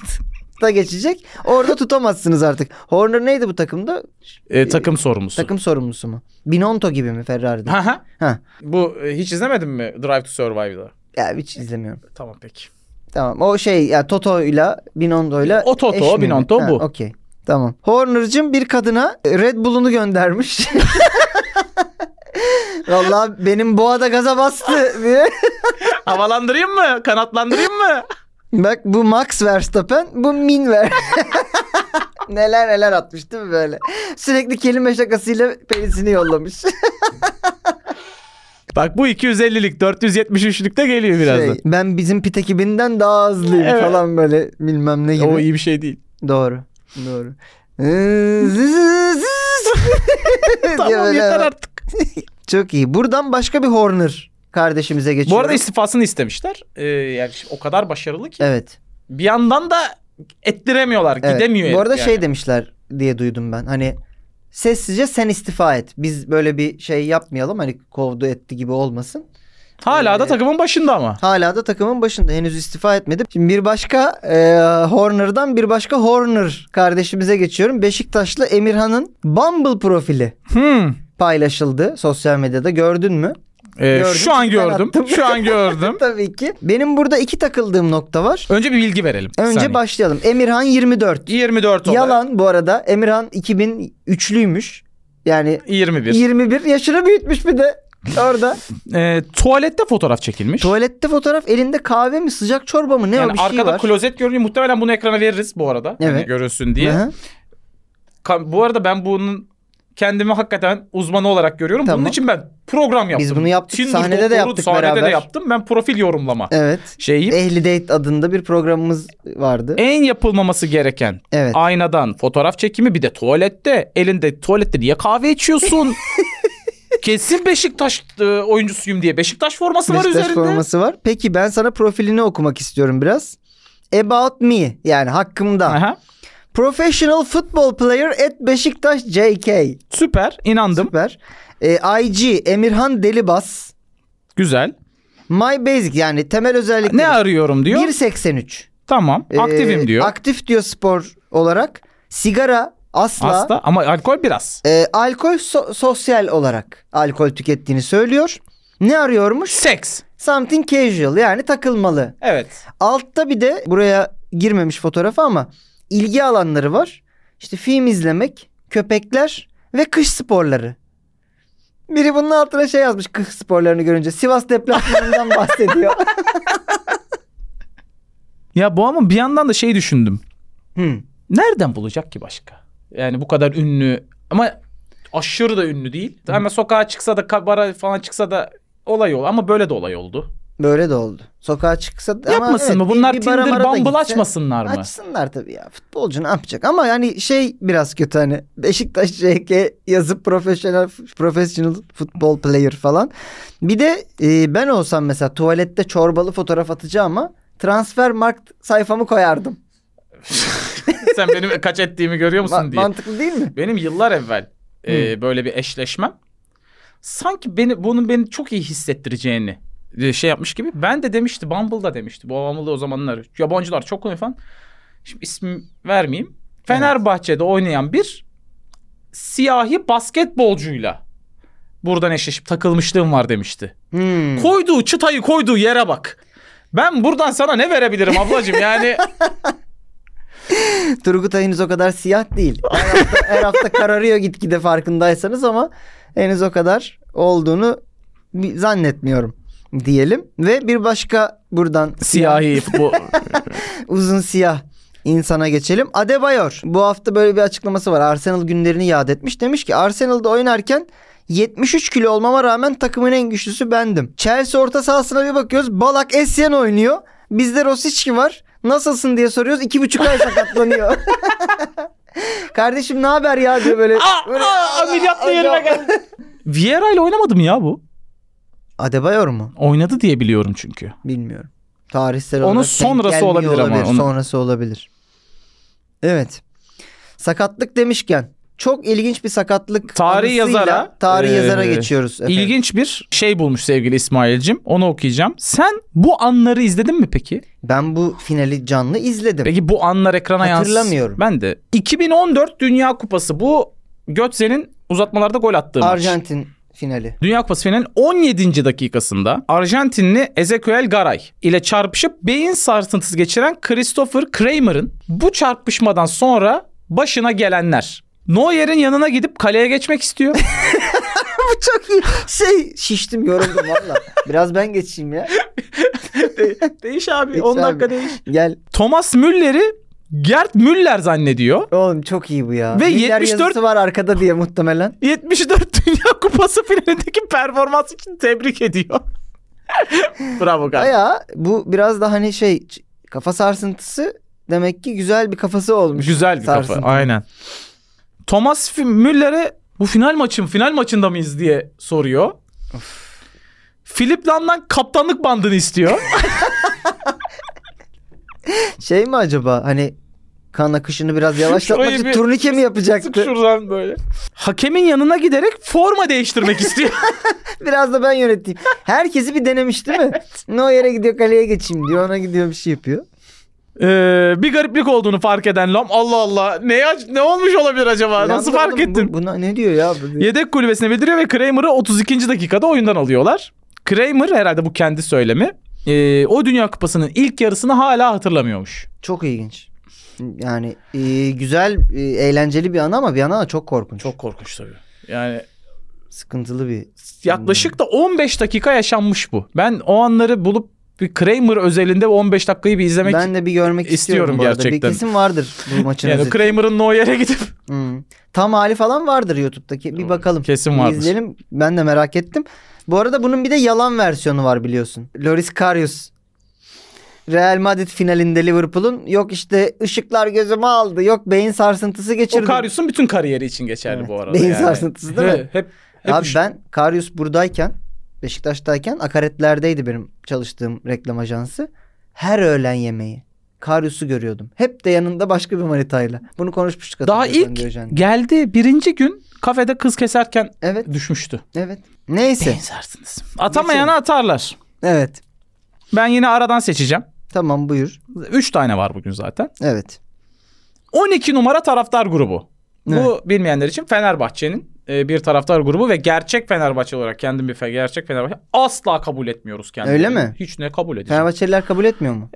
da geçecek. Orada tutamazsınız artık. Horner neydi bu takımda? E, takım sorumlusu. Takım sorumlusu mu? Binonto gibi mi Ferrari'de? Ha ha. Ha. Bu e, hiç izlemedin mi Drive to Survive'da? Ya hiç izlemiyorum. Tamam peki. Tamam. O şey ya Toto'yla Binonto'yla O Toto, eş mi? Binonto Ha, bu. Okey. Tamam. Horner'cığım bir kadına Red Bull'unu göndermiş. Vallahi benim boğada gaza bastı diye. Havalandırayım mı? Kanatlandırayım mı? Bak bu Max Verstappen, bu Min Ver. neler neler atmış değil mi böyle? Sürekli kelime şakasıyla penisini yollamış. Bak bu 250'lik 473'lük de geliyor birazdan. Şey, ben bizim pit ekibinden daha hızlıyım Evet. falan böyle bilmem ne gibi. o iyi bir şey değil. Doğru. Ee, Doğru. Zzzz. Diye Tamam böyle yeter hemen- artık. Çok iyi. Buradan başka bir Horner kardeşimize geçiyorum. Bu arada istifasını istemişler. Ee, yani şimdi o kadar başarılı ki. evet. Bir yandan da ettiremiyorlar. evet. Gidemiyor. Bu arada herif şey yani. demişler diye duydum ben. Hani sessizce sen istifa et. Biz böyle bir şey yapmayalım. Hani kovdu etti gibi olmasın. Hala da Ee, takımın başında ama. Hala da takımın başında. Henüz istifa etmedi. Şimdi bir başka eee, Horner'dan bir başka Horner kardeşimize geçiyorum. Beşiktaşlı Emirhan'ın Bumble profili Hmm. paylaşıldı sosyal medyada. Gördün mü? Ee, Gördüm, şu an ben gördüm. attım. Şu an gördüm. Tabii ki. Benim burada iki takıldığım nokta var. Önce bir bilgi verelim. bir Önce saniye. başlayalım. Emirhan 24. 24 olarak. Yalan bu arada. Emirhan 2003'lüymüş. Yani 21. 21 yaşını büyütmüş bir de orada. Ee, tuvalette fotoğraf çekilmiş. Tuvalette fotoğraf elinde kahve mi sıcak çorba mı ne o yani bir şey arkada var. klozet görünüyor. Muhtemelen bunu ekrana veririz bu arada. Hani Evet. görünsün diye. Aha. Ka- Bu arada ben bunun kendimi hakikaten uzmanı olarak görüyorum. Bunun Tamam. için ben program yaptım. Biz bunu yaptık, Tinder sahnede de doktoru yaptık sahnede de beraber. yaptım. Ben profil yorumlama Evet. şeyi. Ehli Date adında bir programımız vardı. En yapılmaması gereken Evet. aynadan fotoğraf çekimi bir de tuvalette. Elinde tuvalette niye kahve içiyorsun? Kesin Beşiktaş e, oyuncusuyum diye Beşiktaş forması var Beşiktaş üzerinde. forması var. Peki ben sana profilini okumak istiyorum biraz. About me yani hakkımda. Aha, Professional football player at Beşiktaş JK. süper inandım. Süper. Ee, IG Emirhan Delibas. Güzel. My basic yani temel özellikleri. Ne arıyorum diyor. 1.83. Tamam Ee, aktifim diyor. Aktif diyor spor olarak. Sigara asla. Hasta ama alkol biraz. Ee, Ee, alkol so- sosyal olarak alkol tükettiğini söylüyor. Ne arıyormuş? Seks. Something casual yani takılmalı. Evet. Altta bir de buraya girmemiş fotoğrafı ama ilgi alanları var. İşte film izlemek, köpekler ve kış sporları. Biri bunun altına şey yazmış kış sporlarını görünce. Sivas deplasmanından bahsediyor. Ya bu ama bir yandan da şey düşündüm. Hmm. Nereden bulacak ki başka? Yani bu kadar ünlü ama aşırı da ünlü değil. Ama sokağa çıksa da kabara falan çıksa da olay ol. Ama böyle de olay oldu. Böyle de oldu. Sokağa çıksa da- ama Yapmasın evet, mı? bir- Bunlar bir bara Tinder mara da Bumble gitse- açmasınlar mı? Açsınlar tabii ya. Futbolcu ne yapacak? Ama yani şey biraz kötü hani. Beşiktaş CK yazıp profesyonel professional futbol player falan. Bir de e, ben olsam mesela tuvalette çorbalı fotoğraf atacağım ama transfer markt sayfamı koyardım. Sen benim kaç ettiğimi görüyor musun Ma- diye. mantıklı değil mi? Benim yıllar evvel e, böyle bir eşleşmem sanki beni bunun beni çok iyi hissettireceğini e, şey yapmış gibi. Ben de demişti Bumble'da demişti. Bu Bumble'da o zamanlar yabancılar çok oynuyor falan. Şimdi ismi vermeyeyim. Fenerbahçe'de oynayan bir siyahi basketbolcuyla buradan eşleşip takılmışlığım var demişti. Hmm. Koyduğu çıtayı koyduğu yere bak. Ben buradan sana ne verebilirim ablacığım yani Turgut Ay henüz o kadar siyah değil. Her hafta, her hafta kararıyor gitgide farkındaysanız ama henüz o kadar olduğunu bi- zannetmiyorum diyelim. Ve bir başka buradan siyahi futbol. uzun siyah insana geçelim. Adebayor bu hafta böyle bir açıklaması var. Arsenal günlerini yad etmiş. Demiş ki Arsenal'da oynarken 73 kilo olmama rağmen takımın en güçlüsü bendim. Chelsea orta sahasına bir bakıyoruz. Balak Essien oynuyor. Bizde Rosicki var. Nasılsın diye soruyoruz. iki buçuk ay sakatlanıyor. Kardeşim ne haber ya diyor böyle. Aa, böyle aa, ameliyatla yerine geldi. Vieira ile oynamadı mı ya bu? Adebayor mu? Oynadı diye biliyorum çünkü. Bilmiyorum. Tarihsel Onun olarak denk sonrası gelmiyor olabilir ama onun- Sonrası olabilir. Evet. Sakatlık demişken çok ilginç bir sakatlık Tarih anısıyla yazara, ee, tarih eee, yazara geçiyoruz. efendim. İlginç bir şey bulmuş sevgili İsmail'cim. Onu okuyacağım. Sen bu anları izledin mi peki? Ben bu finali canlı izledim. Peki bu anlar ekrana yansın. Hatırlamıyorum. Ben de. 2014 Dünya Kupası. Bu Götze'nin uzatmalarda gol attığı maç. Arjantin finali. Dünya Kupası finalinin 17. dakikasında Arjantinli Ezequiel Garay ile çarpışıp beyin sarsıntısı geçiren Christopher Kramer'ın bu çarpışmadan sonra başına gelenler. Neuer'in yanına gidip kaleye geçmek istiyor. Bu çok iyi. Şey şiştim yoruldum valla. Biraz ben geçeyim ya. De- değiş abi. Geç 10 abi. dakika değiş. Gel. Thomas Müller'i Gerd Müller zannediyor. Oğlum çok iyi bu ya. Ve Lider 74 yazısı var arkada diye muhtemelen. 74 Dünya Kupası finalindeki performans için tebrik ediyor. Bravo Garay. Baya bu biraz da hani şey ç- kafa sarsıntısı demek ki güzel bir kafası olmuş. Güzel bir kafa. Sarsıntı. Aynen. Thomas F- Müller'e bu final maçı mı? Final maçında mıyız diye soruyor. Philip Lam'dan kaptanlık bandını istiyor. Şey mi acaba hani kan akışını biraz yavaşlatmak Şurayı için bir turnike mi Sık yapacaktı? şuradan böyle. Hakemin yanına giderek forma değiştirmek istiyor. Biraz da ben yöneteyim. Herkesi bir denemiş değil mi? No yere gidiyor kaleye geçeyim diyor. Ona gidiyor bir şey yapıyor. Ee, bir gariplik olduğunu fark eden Lam Allah Allah ne ne olmuş olabilir acaba? Nasıl Yalnız fark oğlum, ettin? Bu, buna ne diyor ya? bu? Yedek kulübesine bildiriyor ve Kramer'ı 32. dakikada oyundan alıyorlar. Kramer herhalde bu kendi söylemi. Ee, o Dünya Kupası'nın ilk yarısını hala hatırlamıyormuş. Çok ilginç. Yani e, güzel, e, eğlenceli bir an ama bir yana da çok korkunç. Çok korkunç tabii. Yani sıkıntılı bir. yaklaşık da 15 dakika yaşanmış bu. Ben o anları bulup bir Kramer özelinde o 15 dakikayı bir izlemek ben de bir görmek istiyorum, istiyorum bu arada. gerçekten. Bir kesim vardır bu maçın yani özeti. Kramer'ın no yere gidip Hmm. Tam hali falan vardır YouTube'daki. Bir bakalım. Kesin Bir vardır. İzleyelim. Ben de merak ettim. Bu arada bunun bir de yalan versiyonu var biliyorsun. Loris Karius. Real Madrid finalinde Liverpool'un yok işte ışıklar gözüme aldı. Yok beyin sarsıntısı o geçirdim. Karius'un bütün kariyeri için geçerli Evet. bu arada. Beyin yani. sarsıntısı değil mi? Hep, hep Abi şu- ben Karius buradayken Beşiktaş'tayken akaretlerdeydi benim çalıştığım reklam ajansı. Her öğlen yemeği. Karius'u görüyordum. Hep de yanında başka bir manitayla. Bunu konuşmuştuk. daha hatırlıyorsan ilk Diyojen. geldi birinci gün kafede kız keserken Evet, düşmüştü. evet. Neyse. Beyin sarsıntısı. Atamayana atarlar. Evet. Ben yine aradan seçeceğim. Tamam buyur. 3 tane var bugün zaten. Evet. 12 numara taraftar grubu. Bu Evet. bilmeyenler için Fenerbahçe'nin e, bir taraftar grubu ve gerçek Fenerbahçe olarak kendim bir fe- gerçek Fenerbahçe asla kabul etmiyoruz kendimizi. Öyle mi? Hiç ne kabul edeceğim. Fenerbahçeliler kabul etmiyor mu?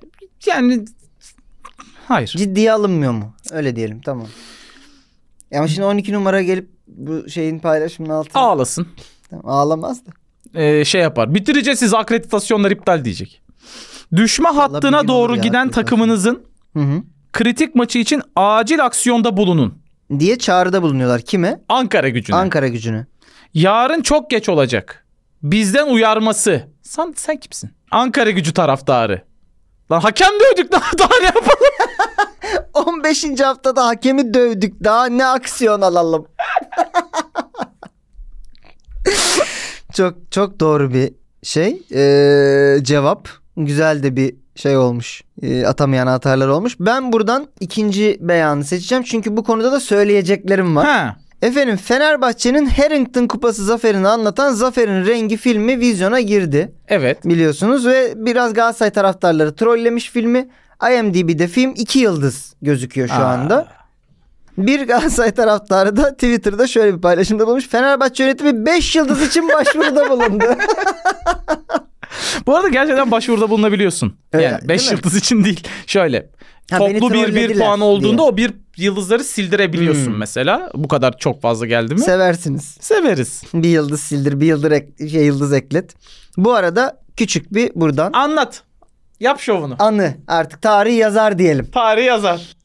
Yani hayır. Ciddiye alınmıyor mu? Öyle diyelim tamam. Ya Ama şimdi 12 numara gelip bu şeyin paylaşımının altına Ağlasın. Tamam, ağlamaz da. e, şey yapar. Bitireceğiz siz akreditasyonlar iptal diyecek. Düşme bir hattına gün doğru olur ya giden akreditasyon. takımınızın Hı hı. kritik maçı için acil aksiyonda bulunun. Diye çağrıda bulunuyorlar. Kime? Ankara gücüne. Ankara gücünü. Yarın çok geç olacak. Bizden uyarması. Sen, sen kimsin? Ankara gücü taraftarı. Lan hakem dövdük daha, daha ne yapalım? 15. haftada hakemi dövdük. Daha ne aksiyon alalım. çok çok doğru bir şey. Ee, cevap. Güzel de bir şey olmuş. Ee, atamayan atarlar olmuş. Ben buradan ikinci beyanı seçeceğim. Çünkü bu konuda da söyleyeceklerim var. Ha. Efendim Fenerbahçe'nin Harrington Kupası zaferini anlatan Zaferin Rengi filmi vizyona girdi Evet. biliyorsunuz ve biraz Galatasaray taraftarları trollemiş filmi. IMDb'de film 2 yıldız gözüküyor şu Aa. anda. Bir Galatasaray taraftarı da Twitter'da şöyle bir paylaşımda bulmuş. Fenerbahçe yönetimi 5 yıldız için başvuruda bulundu. Bu arada gerçekten başvuruda bulunabiliyorsun. Evet, yani 5 değil mi? yıldız için değil. Şöyle. Ha, beni toplu bir bir trollediler puan olduğunda diye. o bir yıldızları sildirebiliyorsun Hmm. mesela. Bu kadar çok fazla geldi mi? Seversiniz. Severiz. Bir yıldız sildir, bir yıldız, ek- şey, yıldız eklet. Bu arada küçük bir buradan Anlat. Yap şovunu. anı artık tarihi yazar diyelim. Tarih yazar.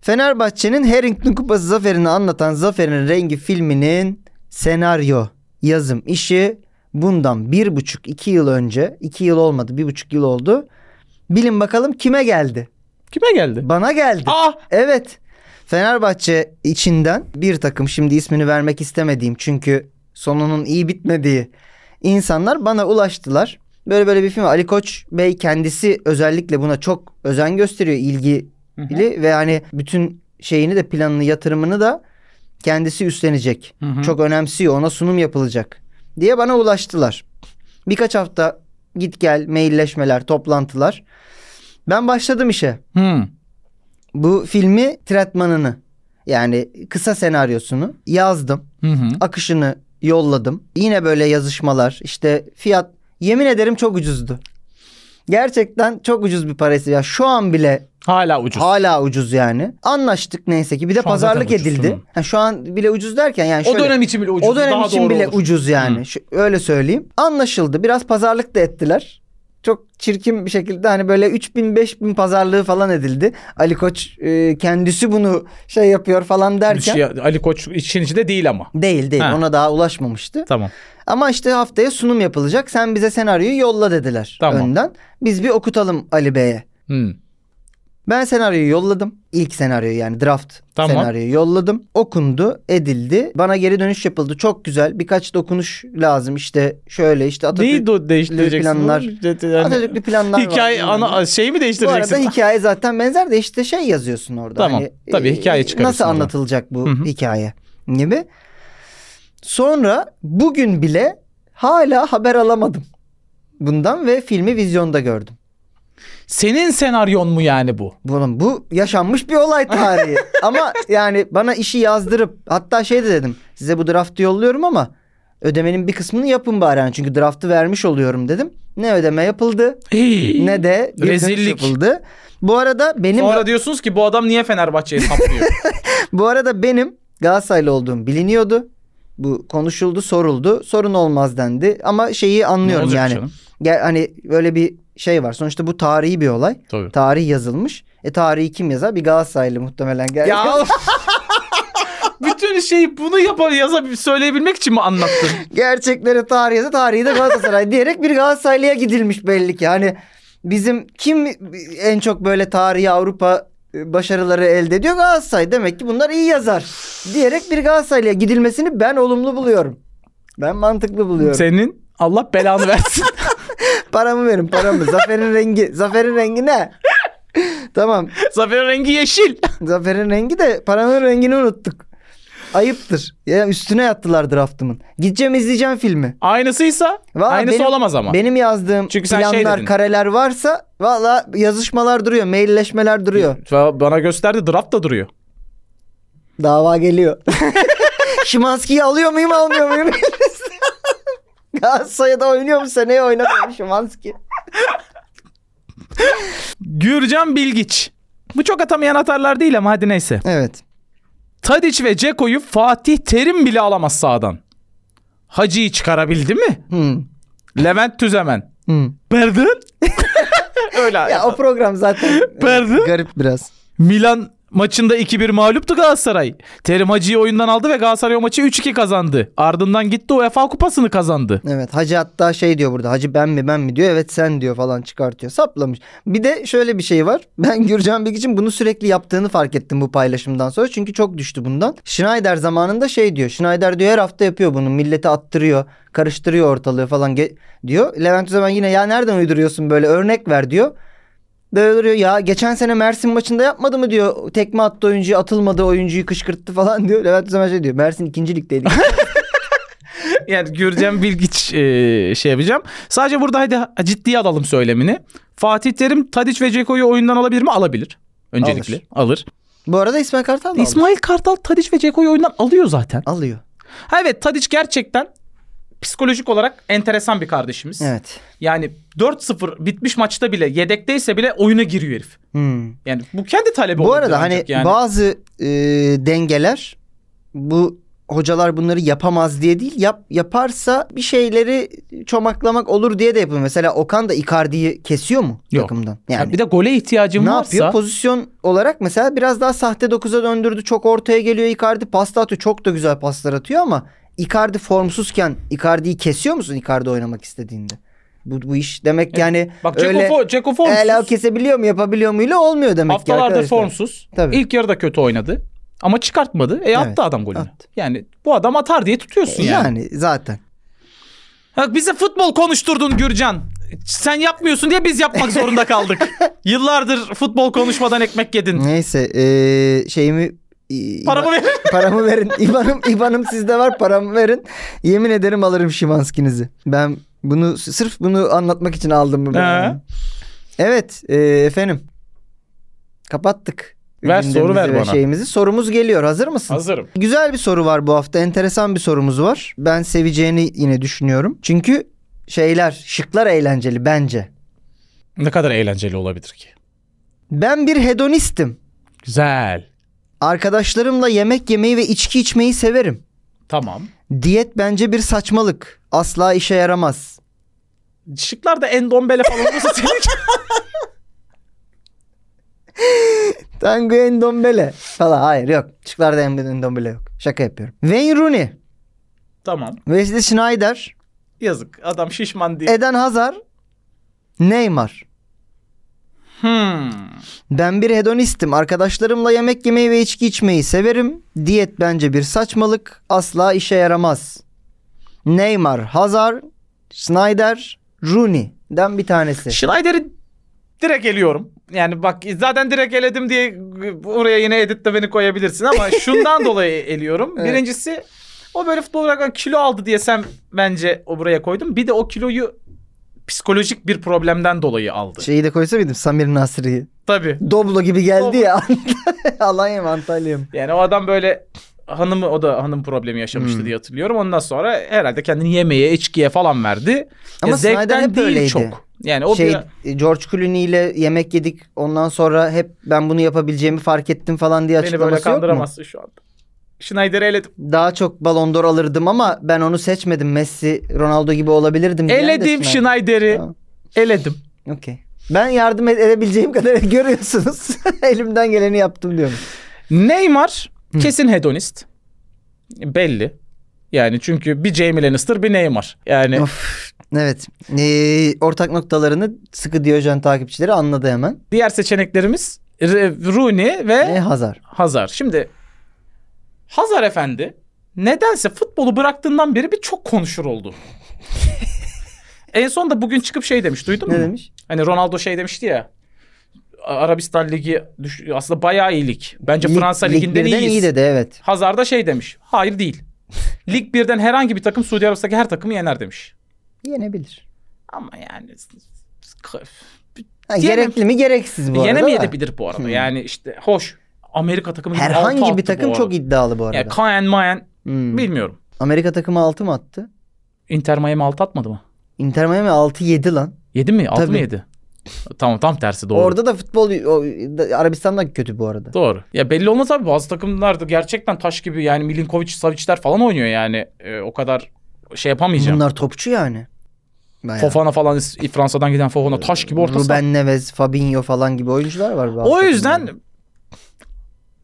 Fenerbahçe'nin Harrington Kupası zaferini anlatan Zaferin Rengi filminin senaryo, yazım işi bundan bir buçuk iki yıl önce, iki yıl olmadı bir buçuk yıl oldu. Bilin bakalım kime geldi? Kime geldi? Bana geldi. Aa! Evet. Fenerbahçe içinden bir takım şimdi ismini vermek istemediğim çünkü sonunun iyi bitmediği insanlar bana ulaştılar. Böyle böyle bir film. Ali Koç Bey kendisi özellikle buna çok özen gösteriyor ilgili Hı hı. ve hani bütün şeyini de planını yatırımını da kendisi üstlenecek Hı hı. çok önemsiyor ona sunum yapılacak diye bana ulaştılar. Birkaç hafta git gel mailleşmeler toplantılar. Ben başladım işe Hı. bu filmi tretmanını yani kısa senaryosunu yazdım. Hı hı. Akışını yolladım. Yine böyle yazışmalar işte fiyat yemin ederim çok ucuzdu. Gerçekten çok ucuz bir parası. Ya şu an bile Hala ucuz. hala ucuz yani. Anlaştık neyse ki. Bir de Şu an zaten pazarlık ucuzsun. edildi. Ha, şu an bile ucuz derken yani o şöyle. dönem için bile ucuz. O dönem Daha için doğru bile olur. Hmm. ucuz yani. Şu- öyle söyleyeyim. Anlaşıldı. Biraz pazarlık da ettiler. Çok çirkin bir şekilde hani böyle 3000 5000 pazarlığı falan edildi. Ali Koç e, kendisi bunu şey yapıyor falan Bir derken şey- Ali Koç için içinde değil ama. değil değil. Ha. Ona daha ulaşmamıştı. Tamam. Ama işte haftaya sunum yapılacak. Sen bize senaryoyu yolla dediler Tamam. önden. Biz bir okutalım Ali Bey'e. Hı. Ben senaryoyu yolladım. İlk senaryoyu yani draft Tamam. senaryoyu yolladım. Okundu, edildi. Bana geri dönüş yapıldı. Çok güzel. Birkaç dokunuş lazım. İşte şöyle işte Atatürk, Neyi do- değiştireceksin? planlar. Yani, Atatürk'lü planlar var. hikaye Bilmem ne. ana şey mi Bu arada değiştireceksin? hikaye zaten benzer de işte şey yazıyorsun orada. Tamam. Tabii, e, hikaye çıkarırsın Nasıl oradan. anlatılacak bu Hı hı. hikaye gibi. Sonra bugün bile hala haber alamadım bundan ve filmi vizyonda gördüm. Senin senaryon mu yani bu? Bunun bu yaşanmış bir olay tarihi. ama yani bana işi yazdırıp hatta şey de dedim. Size bu draftı yolluyorum ama ödemenin bir kısmını yapın bari. Yani çünkü draftı vermiş oluyorum dedim. Ne ödeme yapıldı ne de bir dönüş Rezillik. yapıldı. Bu arada benim Sonra diyorsunuz ki bu adam niye Fenerbahçe'ye saplıyor? bu arada benim Galatasaraylı olduğum biliniyordu. Bu konuşuldu, soruldu. Sorun olmaz dendi. Ama şeyi Ne anlıyorum olacak yani. canım? Gel hani böyle bir şey var. Sonuçta bu tarihi bir olay. Tabii. Tarih yazılmış. E tarihi kim yazar? Bir Galatasaraylı muhtemelen gel. Ya bütün şeyi bunu yapar yazıp söyleyebilmek için mi anlattın? Gerçekleri tarih yazar, tarihi de Galatasaray diyerek bir Galatasaraylı'ya gidilmiş belli ki. Hani bizim kim en çok böyle tarihi Avrupa e, başarıları elde ediyor? Galatasaray. Demek ki bunlar iyi yazar diyerek bir Galatasaraylı'ya gidilmesini ben olumlu buluyorum. Ben mantıklı buluyorum. Senin Allah belanı versin. Paramı verin paramı. Zaferin rengi. Zaferin rengi ne? tamam. Zaferin rengi yeşil. Zaferin rengi de paramın rengini unuttuk. Ayıptır. Ya üstüne yattılar draftımın. Gideceğim izleyeceğim filmi. Aynısıysa Valla aynısı benim- olamaz ama. Benim yazdığım Çünkü sen şey planlar, dedin. kareler varsa valla yazışmalar duruyor, mailleşmeler duruyor. Ba- Bana gösterdi draft da duruyor. Dava geliyor. Şimanski'yi alıyor muyum almıyor muyum? Galatasaray'da oynuyor mu seneye oynamıyor mu Şimanski? Gürcan Bilgiç. Bu çok atamayan atarlar değil ama hadi neyse. Evet. Tadiç ve Ceko'yu Fatih Terim bile alamaz sağdan. Hacı'yı çıkarabildi mi? Hmm. Levent Tüzemen. Hmm. Pardon? Öyle. Ya o program zaten Pardon? garip biraz. Milan maçında 2-1 mağluptu Galatasaray. Terim Hacı'yı oyundan aldı ve Galatasaray o maçı 3-2 kazandı. Ardından gitti UEFA kupasını kazandı. Evet hacı hatta şey diyor burada hacı ben mi ben mi diyor evet sen diyor falan çıkartıyor saplamış. Bir de şöyle bir şey var ben Gürcan Bilgiç'in bunu sürekli yaptığını fark ettim bu paylaşımdan sonra çünkü çok düştü bundan. Schneider zamanında şey diyor Schneider diyor her hafta yapıyor bunu milleti attırıyor karıştırıyor ortalığı falan ge- diyor. Levent Özemen yine ya nereden uyduruyorsun böyle örnek ver diyor. Böyle duruyor ya geçen sene Mersin maçında yapmadı mı diyor tekme attı oyuncuyu atılmadı oyuncuyu kışkırttı falan diyor. Levent Özemen şey diyor Mersin ikinci ligdeydi. Yani Gürcan Bilgiç e, şey yapacağım. Sadece burada hadi ciddiye alalım söylemini. Fatih Terim Tadiç ve Ceko'yu oyundan alabilir mi? Alabilir. Öncelikle alır. bu arada İsmail Kartal da aldı. İsmail Kartal Tadiç ve Ceko'yu oyundan alıyor zaten. alıyor. Ha evet Tadiç gerçekten psikolojik olarak enteresan bir kardeşimiz. Evet. Yani 4-0 bitmiş maçta bile yedekteyse bile oyuna giriyor herif. Hmm. Yani bu kendi talebi Bu olabilir arada ancak hani yani. bazı e, dengeler bu hocalar bunları yapamaz diye değil yap yaparsa bir şeyleri çomaklamak olur diye de yapıyor. Mesela Okan da Icardi'yi kesiyor mu Yok. takımdan? Ya Yani bir de gole ihtiyacım ne varsa yapıyor? Pozisyon olarak mesela biraz daha sahte 9'a döndürdü. Çok ortaya geliyor Icardi. Pasta atıyor. Çok da güzel paslar atıyor ama Icardi formsuzken Icardi'yi kesiyor musun Icardi oynamak istediğinde? Bu, bu iş demek yani E, bak Ceko, öyle fo- Ceko formsuz. el al kesebiliyor mu yapabiliyor muyla olmuyor demek ki Haftalardır arkadaşlar. formsuz. Tabii. İlk yarıda kötü oynadı. Ama çıkartmadı. E attı adam golünü. attı. E, Yani bu adam atar diye tutuyorsun yani. Yani zaten. Ha, bize futbol konuşturdun Gürcan. Sen yapmıyorsun diye biz yapmak zorunda kaldık. Yıllardır futbol konuşmadan ekmek yedin. Neyse eee şeyimi i- Paramı iba- ver. paramı verin. İbanım İbanım sizde var paramı verin. Yemin ederim alırım Şimanskinizi. Ben bunu sırf bunu anlatmak için aldım bu bölümü. He. Evet eee, efendim. Kapattık. Ver, soru gündemimizi ver ve bana. Şeyimizi. Sorumuz geliyor. Hazır mısın? Hazırım. Güzel bir soru var bu hafta. Enteresan bir sorumuz var. Ben seveceğini yine düşünüyorum. Çünkü şeyler, şıklar eğlenceli bence. Ne kadar eğlenceli olabilir ki? Ben bir hedonistim. Güzel. Arkadaşlarımla yemek yemeyi ve içki içmeyi severim. Tamam. Diyet bence bir saçmalık. Asla işe yaramaz. Şıklar da en dombele falan olursa senin Tango Endombele falan. Hayır yok. Çıklarda Endombele yok. Şaka yapıyorum. Wayne Rooney, Tamam. Wesley Snyder, Yazık. Adam şişman değil. Eden Hazar, Neymar. Hmm. Ben bir hedonistim. Arkadaşlarımla yemek yemeyi ve içki içmeyi severim. Diyet bence bir saçmalık. Asla işe yaramaz. Neymar, Hazar, Snyder, Rooney'den bir tanesi. Schneider'i direkt eliyorum. Yani bak zaten direkt eledim diye oraya yine editle beni koyabilirsin ama şundan dolayı eliyorum. Evet. Birincisi o böyle futbol olarak kilo aldı diye sen bence o buraya koydum. Bir de o kiloyu psikolojik bir problemden dolayı aldı. Şeyi de koysa mıydım Samir Nasri'yi. Tabii. Doblo gibi geldi Doblo. ya. Alanya mı Antalya mı? Yani o adam böyle hanımı o da hanım problemi yaşamıştı Hmm. diye hatırlıyorum. Ondan sonra herhalde kendini yemeye, içkiye falan verdi. Ama Ya zevkten Snyder hep değil öyleydi. çok. Yani o şey bir- George Clooney ile yemek yedik. Ondan sonra hep ben bunu yapabileceğimi fark ettim falan diye beni böyle açıklaması yok mu? kandıramazsın şu anda. Schneider'i eledim. Daha çok Ballon d'Or alırdım ama ben onu seçmedim. Messi, Ronaldo gibi olabilirdim. diyen de Eledim Schneider. Schneider'i. Tamam. Eledim. Okey. Ben yardım ed- edebileceğim kadar görüyorsunuz. Elimden geleni yaptım diyorum. Neymar kesin hedonist. Belli. Yani çünkü bir Jamie Lannister bir Neymar. Yani Of. Evet. Ee, ortak noktalarını sıkı Diyojen takipçileri anladı hemen. diğer seçeneklerimiz Re- Rooney ve Ee, Hazar. Hazar. Şimdi Hazar efendi nedense futbolu bıraktığından beri bir çok konuşur oldu. en son da bugün çıkıp şey demiş duydun mu? Ne demiş? Hani Ronaldo şey demişti ya. A- Arabistan Ligi düş- aslında bayağı iyi lig. Bence Lig- Fransa Lig Ligi'nden birden iyiyiz. iyi dedi evet. Hazar da şey demiş. Hayır değil. Lig 1'den herhangi bir takım Suudi Arabistan'daki her takımı yener demiş. Yenebilir. Ama yani s- s- Ha, Yenem- gerekli mi gereksiz bu arada. da. yenemeyebilir bu arada. Hı. Yani işte hoş. Amerika takımı gibi altı Herhangi attı bir takım bu çok arada. iddialı bu arada. Yani Kayen Mayen Hmm. Bilmiyorum. Amerika takımı 6 mı attı? Inter Miami 6 atmadı mı? Inter Miami 6-7 lan. 7 mi? 6 mı Tabii. 7? Tamam tam tersi doğru. Orada da futbol o, da- Arabistan'da kötü bu arada. Doğru. Ya belli olmaz abi bazı takımlar da gerçekten taş gibi yani Milinkovic, Savic'ler falan oynuyor yani. Ee, o kadar şey yapamayacağım. Bunlar topçu yani. Ee, Bayağı. Fofana falan Fransa'dan giden Fofana taş gibi orta saha. Ruben Neves, Fabinho falan gibi oyuncular var. bu O hafta yüzden takımda.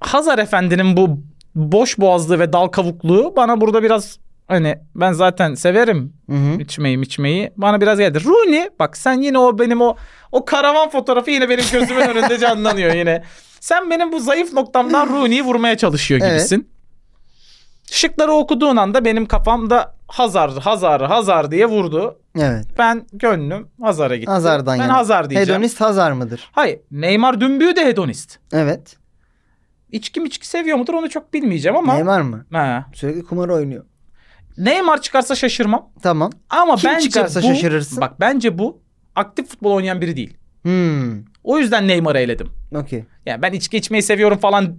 Hazar Efendi'nin bu boş boğazlığı ve dal kavukluğu bana burada biraz hani ben zaten severim Hı hı. içmeyi içmeyi bana biraz geldi. Rooney bak sen yine o benim o o karavan fotoğrafı yine benim gözümün önünde canlanıyor yine. Sen benim bu zayıf noktamdan Rooney'i vurmaya çalışıyor Evet. gibisin. Şıkları okuduğun anda benim kafamda Hazar, Hazar, Hazar diye vurdu. Evet. Ben gönlüm Hazar'a gitti. Hazar'dan ben yana. Hazar diyeceğim. Hedonist Hazar mıdır? Hayır, Neymar dümbüğü de hedonist. Evet. İçki mi içki seviyor mudur onu çok bilmeyeceğim ama. Neymar, Neymar mı? ha. Sürekli kumar oynuyor. Neymar çıkarsa şaşırmam. Tamam. Ama Kim bence çıkarsa bu, şaşırırsın. Bak bence bu aktif futbol oynayan biri değil. Hmm. O yüzden Neymar'ı eledim. Okey. Yani ben içki içmeyi seviyorum falan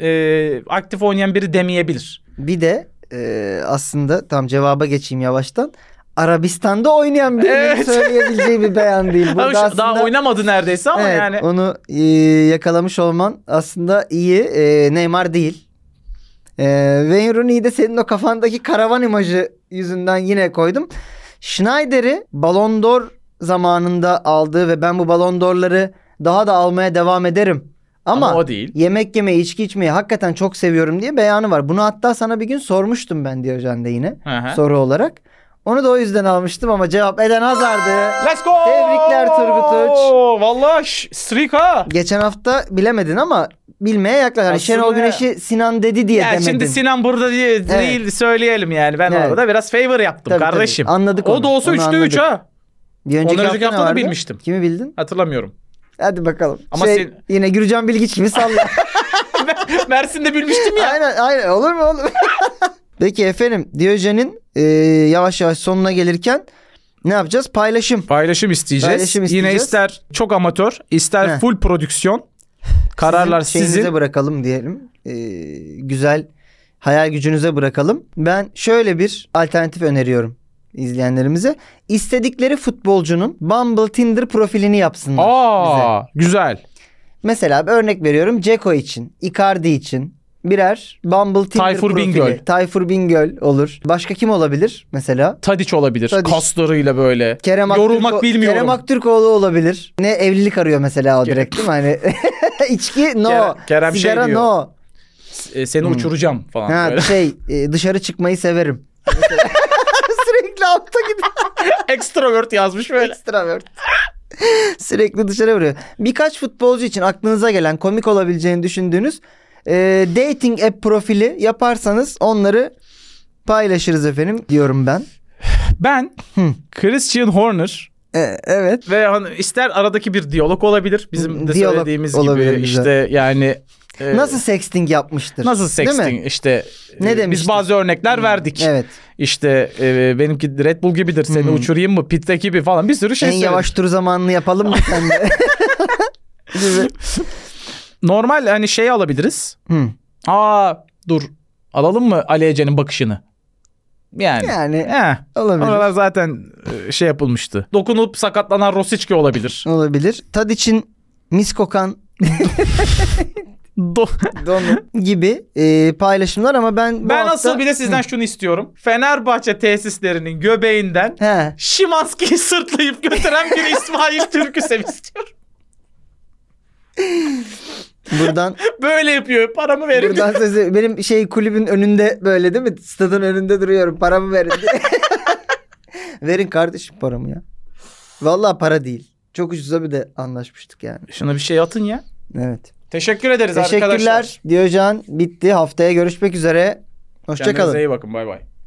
e, aktif oynayan biri demeyebilir. Bir de e, aslında tam cevaba geçeyim yavaştan. Arabistan'da oynayan birinin Evet. söyleyebileceği bir beyan değil. Ama Burada şu- aslında... Daha oynamadı neredeyse ama Evet, yani. onu e, yakalamış olman aslında iyi. E, Neymar değil. E, Wayne Rooney'i de senin o kafandaki karavan imajı yüzünden yine koydum. Schneider'i Ballon d'Or zamanında aldığı ve ben bu Ballon d'Or'ları daha da almaya devam ederim. Ama, Ama o değil. yemek yemeyi, içki içmeyi hakikaten çok seviyorum diye beyanı var. Bunu hatta sana bir gün sormuştum ben Diyojen'de yine Hı hı. soru olarak. Onu da o yüzden almıştım ama cevap eden Hazard'ı. Let's go! Tebrikler Turgut Uç. Valla ş- streak ha. Geçen hafta bilemedin ama bilmeye yaklaş. Hani Aslında- Şenol Güneş'i Sinan dedi diye Ya demedin. şimdi Sinan burada diye, değil söyleyelim yani. Ben Evet. orada biraz favor yaptım Tabii, tabii. kardeşim. Anladık O onu. da olsa Onu 3'te anladık. 3 ha. Bir önceki Ondan hafta, önceki ne hafta da vardı? bilmiştim. Kimi bildin? Hatırlamıyorum. Hadi bakalım. Ama şey, sen- Yine Gürcan Bilgiç gibi salla. Mersin'de bilmiştim ya. aynen aynen olur mu olur. Peki efendim Diyojen'in e, yavaş yavaş sonuna gelirken ne yapacağız? Paylaşım. Paylaşım isteyeceğiz. Paylaşım Yine isteyeceğiz. ister çok amatör, ister Heh. full prodüksiyon. Kararlar Sizin sizin. şeyinize bırakalım diyelim. E, güzel hayal gücünüze bırakalım. Ben şöyle bir alternatif öneriyorum izleyenlerimize. İstedikleri futbolcunun Bumble Tinder profilini yapsınlar. Aa, güzel. Mesela bir örnek veriyorum. Ceko için, Icardi için birer Bumble Tinder Tayfur profili. Bingöl. Tayfur Bingöl olur. Başka kim olabilir mesela? Tadiç olabilir. Tadiç. Kaslarıyla böyle. Kerem Yorulmak Aktürko- bilmiyorum. Kerem Aktürkoğlu olabilir. Ne evlilik arıyor mesela o Kerem- direkt değil mi? Hani içki no. Kerem- Kerem şey sigara diyor. no. E, seni Hmm. uçuracağım falan Ha, böyle. şey e, dışarı çıkmayı severim. Mesela. Sürekli altta gidiyor. Extrovert yazmış böyle. Extravert. Sürekli dışarı vuruyor. Birkaç futbolcu için aklınıza gelen komik olabileceğini düşündüğünüz e, dating app profili yaparsanız onları paylaşırız efendim diyorum ben. Ben Hmm. Christian Horner E, evet. ve hani ister aradaki bir diyalog olabilir. Bizim de Diyalog söylediğimiz olabilir gibi güzel. işte yani e, Nasıl sexting yapmıştır? nasıl Değil mi? sexting işte e, Ne biz demiştin? Hmm, bazı örnekler verdik. Evet. İşte e, benimki Red Bull gibidir. Seni Hmm. uçurayım mı? Pit'te gibi falan bir sürü şey en söyledik. yavaş tur zamanını yapalım mı sen de? Gibi. Normal hani şey alabiliriz. Hı. Aa dur alalım mı Ali Ece'nin bakışını? Yani. Yani Eh, olabilir. oralar zaten e, şey yapılmıştı. Dokunup sakatlanan Rosicki olabilir. Olabilir. Tad için mis kokan Do- donu gibi e, paylaşımlar ama ben bu ben hafta... asıl bir de sizden şunu istiyorum. Fenerbahçe tesislerinin göbeğinden He. Şimanski'yi sırtlayıp götüren bir İsmail Türk'ü istiyorum. Buradan Böyle yapıyor. Paramı verin. buradan sözü benim şey kulübün önünde böyle değil mi? Stadın önünde duruyorum. Paramı verin diye. verin kardeşim paramı ya. Vallahi para değil. Çok ucuza bir de anlaşmıştık yani. Şuna bir şey atın ya. Evet. Teşekkür ederiz arkadaşlar. Teşekkürler. Diyojen bitti. Haftaya görüşmek üzere. Kendinize Hoşçakalın. iyi bakın. Bay bay.